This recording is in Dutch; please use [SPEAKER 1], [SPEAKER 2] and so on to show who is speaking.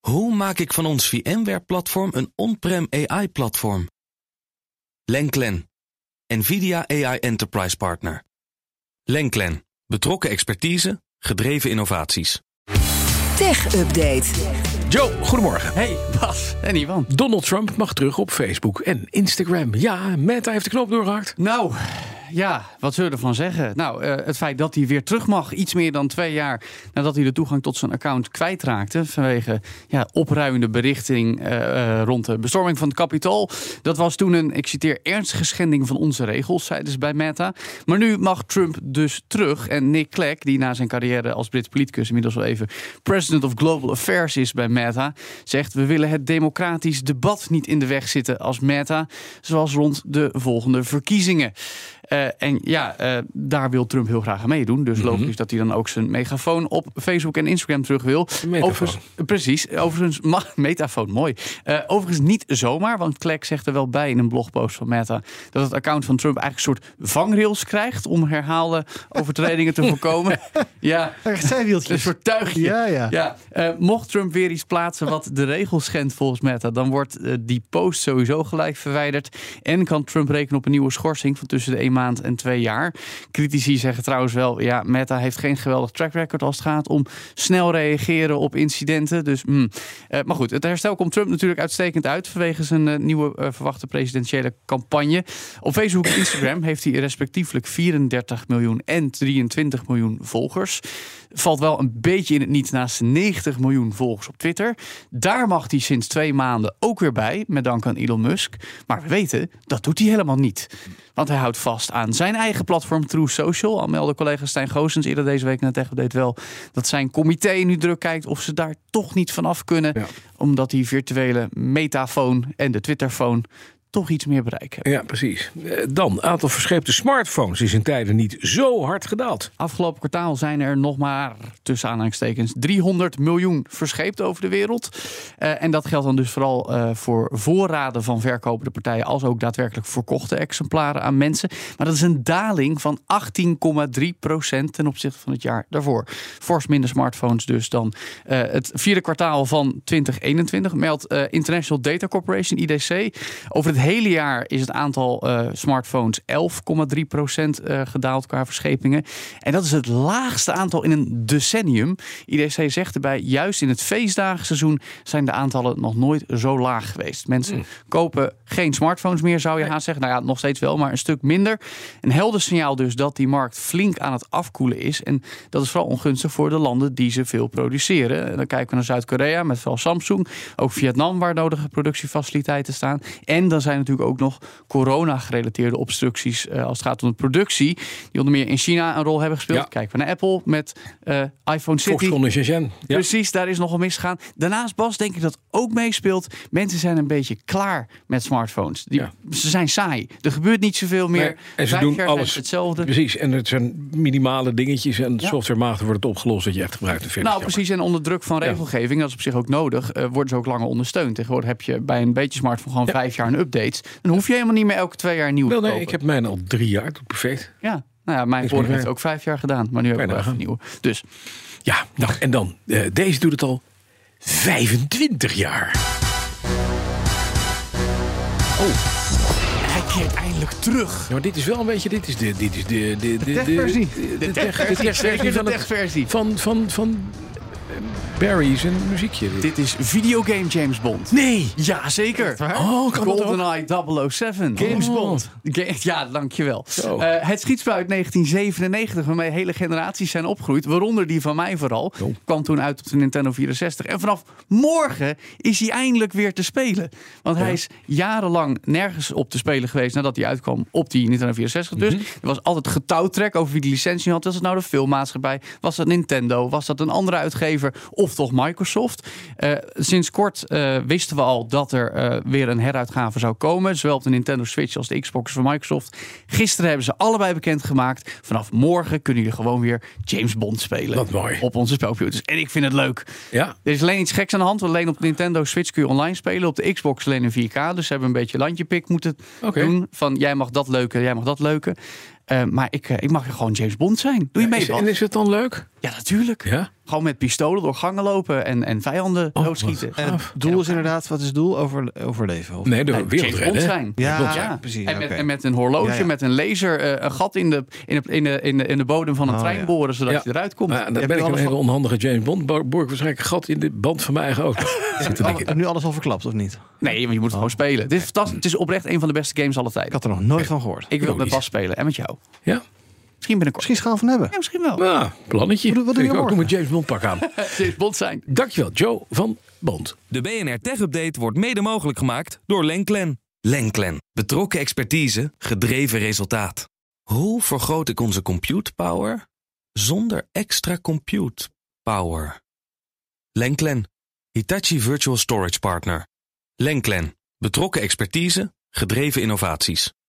[SPEAKER 1] Hoe maak ik van ons VMware-platform een on-prem AI-platform? Lenklen, NVIDIA AI Enterprise Partner. Lenklen, betrokken expertise, gedreven innovaties.
[SPEAKER 2] Tech Update.
[SPEAKER 3] Joe, goedemorgen.
[SPEAKER 4] Hey Bas en Iwan.
[SPEAKER 3] Donald Trump mag terug op Facebook en Instagram. Ja, Meta heeft de knoop doorgehakt.
[SPEAKER 4] Nou, ja, wat zullen we ervan zeggen? Nou, eh, het feit dat hij weer terug mag, iets meer dan twee jaar nadat hij de toegang tot zijn account kwijtraakte. vanwege ja, opruimende berichting eh, eh, rond de bestorming van het kapitool. Dat was toen een, ik citeer, ernstige schending van onze regels, zeiden ze bij Meta. Maar nu mag Trump dus terug. En Nick Clegg, die na zijn carrière als Brits politicus inmiddels wel even president of global affairs is bij Meta, zegt: We willen het democratisch debat niet in de weg zitten als Meta, zoals rond de volgende verkiezingen. Eh, en ja, eh, daar wil Trump heel graag aan meedoen. Dus logisch dat hij dan ook zijn megafoon op Facebook en Instagram terug wil.
[SPEAKER 3] metafoon.
[SPEAKER 4] eh, precies. Overigens, mag, metafoon, mooi. Eh, overigens niet zomaar, want Clegg zegt er wel bij in een blogpost van Meta... dat het account van Trump eigenlijk een soort vangrails krijgt... om herhaalde overtredingen te voorkomen. ja,
[SPEAKER 5] Echt zijwieltjes.
[SPEAKER 4] een soort tuigje.
[SPEAKER 5] Ja, ja.
[SPEAKER 4] Ja, eh, mocht Trump weer iets plaatsen wat de regels schendt volgens Meta, dan wordt eh, die post sowieso gelijk verwijderd. En kan Trump rekenen op een nieuwe schorsing van tussen de 1 maand en 2 jaar. Critici zeggen trouwens wel, ja, Meta heeft geen geweldig track record als het gaat om snel reageren op incidenten. Dus, mm. Eh, maar goed, het herstel komt Trump natuurlijk uitstekend uit vanwege zijn eh, nieuwe eh, verwachte presidentiële campagne. Op Facebook en Instagram heeft hij respectievelijk 34 miljoen en 23 miljoen volgers valt wel een beetje in het niet naast de 90 miljoen volgers op Twitter. Daar mag hij sinds twee maanden ook weer bij, met dank aan Elon Musk. Maar we weten, dat doet hij helemaal niet. Want hij houdt vast aan zijn eigen platform True Social. Al meldde collega Stijn Goosens eerder deze week in het Tech-update wel... dat zijn comité nu druk kijkt of ze daar toch niet van af kunnen.
[SPEAKER 3] Ja.
[SPEAKER 4] Omdat die virtuele metafoon en de Twitterfoon toch iets meer bereik hebben.
[SPEAKER 3] Ja, precies. Eh, Dan, aantal verscheepte smartphones is in tijden niet zo hard gedaald.
[SPEAKER 4] Afgelopen kwartaal zijn er nog maar, tussen aanhalingstekens, 300 miljoen verscheept over de wereld. Eh, en dat geldt dan dus vooral eh, voor voorraden van verkopende partijen, als ook daadwerkelijk verkochte exemplaren aan mensen. Maar dat is een daling van 18,3 ten opzichte van het jaar daarvoor. Fors minder smartphones dus dan eh, het vierde kwartaal van 2021, meldt eh, International Data Corporation, IDC. Over het hele jaar is het aantal eh, smartphones 11,3 eh, gedaald qua verschepingen. En dat is het laagste aantal in een decennium. IDC zegt erbij, juist in het feestdagenseizoen zijn de aantallen nog nooit zo laag geweest. Mensen kopen geen smartphones meer, zou je haast zeggen. Nou ja, nog steeds wel, maar een stuk minder. Een helder signaal dus dat die markt flink aan het afkoelen is. En dat is vooral ongunstig voor de landen die ze veel produceren. En dan kijken we naar Zuid-Korea met vooral Samsung. Ook Vietnam waar nodige productiefaciliteiten staan. En dan zijn natuurlijk ook nog corona-gerelateerde obstructies eh, als het gaat om de productie. Die onder meer in China een rol hebben gespeeld.
[SPEAKER 3] Ja.
[SPEAKER 4] Kijken we naar Apple met eh, iPhone City.
[SPEAKER 3] Foxconn en Shenzhen. Ja.
[SPEAKER 4] Precies, daar is nogal misgegaan. Daarnaast, Bas, denk ik dat ook meespeelt. Mensen zijn een beetje klaar met smartphones. Die,
[SPEAKER 3] Ja.
[SPEAKER 4] Ze zijn saai. Er gebeurt niet zoveel meer.
[SPEAKER 3] Nee, en ze
[SPEAKER 4] Vijf
[SPEAKER 3] doen
[SPEAKER 4] jaar zijn
[SPEAKER 3] alles
[SPEAKER 4] ze hetzelfde.
[SPEAKER 3] Precies, en het zijn minimale dingetjes en
[SPEAKER 4] Ja.
[SPEAKER 3] softwarematig wordt het opgelost dat je echt gebruikt. Dat vind ik
[SPEAKER 4] Nou,
[SPEAKER 3] jammer.
[SPEAKER 4] precies. En onder druk van regelgeving, dat is op zich ook nodig, eh, worden ze ook langer ondersteund. Tegenwoordig heb je bij een beetje smartphone gewoon vijf jaar een update. Dan hoef je helemaal niet meer elke twee jaar een nieuwe
[SPEAKER 3] Wel,
[SPEAKER 4] te
[SPEAKER 3] nee,
[SPEAKER 4] kopen.
[SPEAKER 3] ik heb mijn al drie jaar, doet perfect.
[SPEAKER 4] Ja. Nou ja, mijn
[SPEAKER 3] Niks
[SPEAKER 4] vorige
[SPEAKER 3] meer.
[SPEAKER 4] heeft ook vijf jaar gedaan, maar nu heb ik
[SPEAKER 3] Kan
[SPEAKER 4] wel
[SPEAKER 3] je
[SPEAKER 4] even een nieuwe. Dus
[SPEAKER 3] Ja, nou en dan, eh, deze doet het al 25 jaar.
[SPEAKER 4] hij keert eindelijk terug.
[SPEAKER 3] Ja, maar dit is wel een beetje, dit is de... Dit is de, de, de,
[SPEAKER 5] techversie.
[SPEAKER 3] De, de,
[SPEAKER 4] De
[SPEAKER 3] tech- de
[SPEAKER 4] techversie,
[SPEAKER 3] techversie
[SPEAKER 4] zeker de
[SPEAKER 3] van, het-
[SPEAKER 4] techversie.
[SPEAKER 3] van, van, van eh, Barry's en muziekje. dit.
[SPEAKER 4] Dit is videogame James Bond.
[SPEAKER 3] Nee!
[SPEAKER 4] Jazeker.
[SPEAKER 3] Oh, kan dat ook?
[SPEAKER 4] GoldenEye 007.
[SPEAKER 3] James
[SPEAKER 4] Oh.
[SPEAKER 3] Bond.
[SPEAKER 4] Ga- Ja, dankjewel.
[SPEAKER 3] Zo.
[SPEAKER 4] Eh, het schietspel uit 1997, waarmee hele generaties zijn opgegroeid. Waaronder die van mij vooral.
[SPEAKER 3] Jo.
[SPEAKER 4] Kwam toen uit op de Nintendo 64. En vanaf morgen is hij eindelijk weer te spelen. Want hij is jarenlang nergens op te spelen geweest nadat hij uitkwam op die Nintendo 64.
[SPEAKER 3] Mhm.
[SPEAKER 4] Dus er was altijd getouwtrek over wie de licentie had. Was het nou de filmmaatschappij? Was dat Nintendo? Was dat een andere uitgever? Of toch Microsoft? Eh, sinds kort eh, wisten we al dat er eh, weer een heruitgave zou komen. Zowel op de Nintendo Switch als de Xbox van Microsoft. Gisteren hebben ze allebei bekendgemaakt. Vanaf morgen kunnen jullie gewoon weer James Bond spelen.
[SPEAKER 3] Wat mooi.
[SPEAKER 4] Op onze spelcomputers. En ik vind het leuk.
[SPEAKER 3] Ja,
[SPEAKER 4] Er is alleen iets geks aan de hand. want Alleen op de Nintendo Switch kun je online spelen. Op de Xbox alleen in 4K. Dus ze hebben een beetje landje pik moeten
[SPEAKER 3] Oké.
[SPEAKER 4] doen. Van jij mag dat leuke, jij mag dat leuke. Eh, maar ik, eh, ik mag gewoon James Bond zijn. Doe je mee,
[SPEAKER 3] Is-
[SPEAKER 4] Bas?
[SPEAKER 3] en is het dan leuk?
[SPEAKER 4] Ja, natuurlijk.
[SPEAKER 3] Ja?
[SPEAKER 4] Gewoon met pistolen door gangen lopen en, en vijanden
[SPEAKER 3] Oh,
[SPEAKER 4] doodschieten. Eh,
[SPEAKER 3] wat
[SPEAKER 5] En het
[SPEAKER 3] gaaf.
[SPEAKER 5] doel is inderdaad, wat is het doel? Over, overleven? Of?
[SPEAKER 3] Nee, de
[SPEAKER 4] Nee,
[SPEAKER 3] wereld
[SPEAKER 4] James
[SPEAKER 3] redden.
[SPEAKER 4] Bond
[SPEAKER 3] hè?
[SPEAKER 4] zijn.
[SPEAKER 5] Ja,
[SPEAKER 3] Klopt,
[SPEAKER 5] ja, precies.
[SPEAKER 4] En met,
[SPEAKER 5] oké.
[SPEAKER 4] en met een horloge,
[SPEAKER 5] Ja, ja.
[SPEAKER 4] met een laser, eh, een gat in de, in, de, in, de, in, de, in de bodem van een
[SPEAKER 5] Oh,
[SPEAKER 4] trein
[SPEAKER 5] ja.
[SPEAKER 4] boren, zodat
[SPEAKER 3] Ja.
[SPEAKER 4] je eruit komt.
[SPEAKER 3] Maar
[SPEAKER 5] je
[SPEAKER 3] dan ben ik
[SPEAKER 5] alles
[SPEAKER 3] een hele
[SPEAKER 5] van-
[SPEAKER 3] onhandige James Bond. Bo- Boor ik waarschijnlijk een gat in de band van mijn eigen auto. Zit te
[SPEAKER 5] Al-
[SPEAKER 3] denken.
[SPEAKER 5] nu alles al verklapt, of niet?
[SPEAKER 4] Nee, want je
[SPEAKER 5] Oh.
[SPEAKER 4] moet het gewoon spelen. Het is fantastisch. Het is oprecht een van de beste games aller
[SPEAKER 5] Ik
[SPEAKER 4] tijden.
[SPEAKER 5] had er nog nooit van gehoord.
[SPEAKER 4] Ik wil het met
[SPEAKER 3] Logisch.
[SPEAKER 4] Bas spelen en met jou.
[SPEAKER 3] Ja?
[SPEAKER 4] Misschien binnenkort.
[SPEAKER 5] Misschien schaal van hebben.
[SPEAKER 4] Ja, misschien wel.
[SPEAKER 3] Nou, plannetje.
[SPEAKER 5] Wat doe- wat doe
[SPEAKER 3] ik
[SPEAKER 5] je
[SPEAKER 3] ook
[SPEAKER 5] morgen?
[SPEAKER 3] nog een James Bond pak aan.
[SPEAKER 4] Het is bond zijn.
[SPEAKER 3] Dankjewel, Joe van Bond.
[SPEAKER 1] De BNR Tech Update wordt mede mogelijk gemaakt door Lenklen. Lenklen. Betrokken expertise, gedreven resultaat. Hoe vergroot ik onze compute power zonder extra compute power? Lenklen. Hitachi Virtual Storage Partner. Lenklen. Betrokken expertise, gedreven innovaties.